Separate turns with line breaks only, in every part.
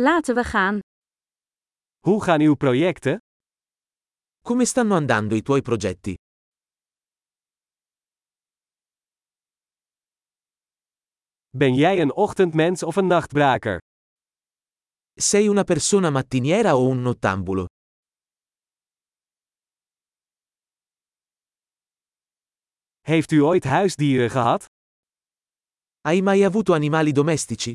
Laten we gaan.
Hoe gaan uw projecten?
Come stanno andando i tuoi progetti?
Ben jij een ochtendmens of een nachtbraker?
Sei una persona mattiniera o un nottambulo?
Heeft u ooit huisdieren gehad?
Hai mai avuto animali domestici?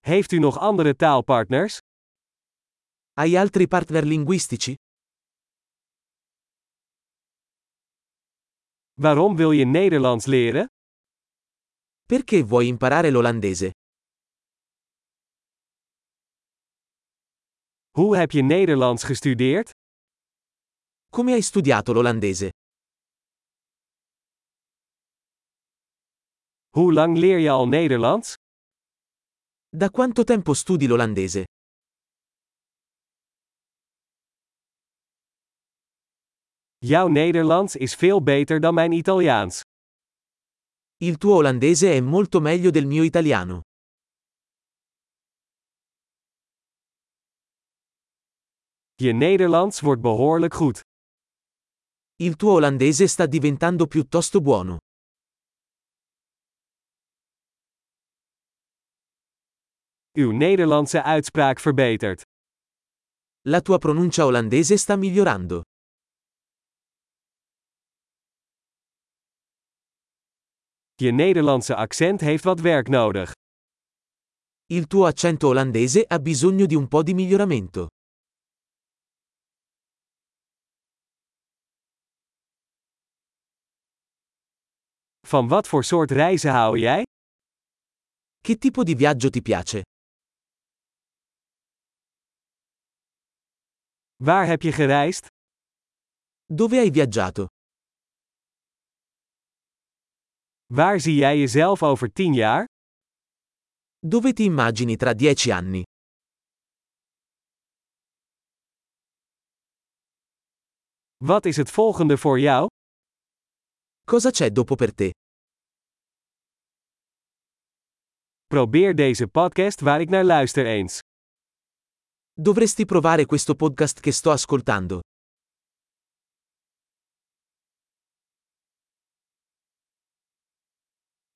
Heeft u nog andere taalpartners?
Hai altri partner linguistici?
Waarom wil je Nederlands leren?
Perché vuoi imparare l'olandese?
Hoe heb je Nederlands gestudeerd?
Come hai studiato l'olandese?
Hoe lang leer je al Nederlands?
Da quanto tempo studi l'olandese?
Jouw Nederlands is veel beter dan mijn Italiaans.
Il tuo olandese è molto meglio del mio italiano.
Je Nederlands wordt behoorlijk goed.
Il tuo olandese sta diventando piuttosto buono.
Uw Nederlandse uitspraak verbetert.
La tua pronuncia olandese sta migliorando.
Je Nederlandse accent heeft wat werk nodig.
Il tuo accento olandese ha bisogno di un po' di miglioramento.
Van wat voor soort reizen hou jij?
Che tipo di viaggio ti piace?
Waar heb je gereisd?
Dove hai viaggiato?
Waar zie jij jezelf over 10 jaar?
Dove ti immagini tra dieci anni?
Wat is het volgende voor jou?
Cosa c'è dopo per te?
Probeer deze podcast waar ik naar luister eens.
Dovresti provare questo podcast che sto ascoltando.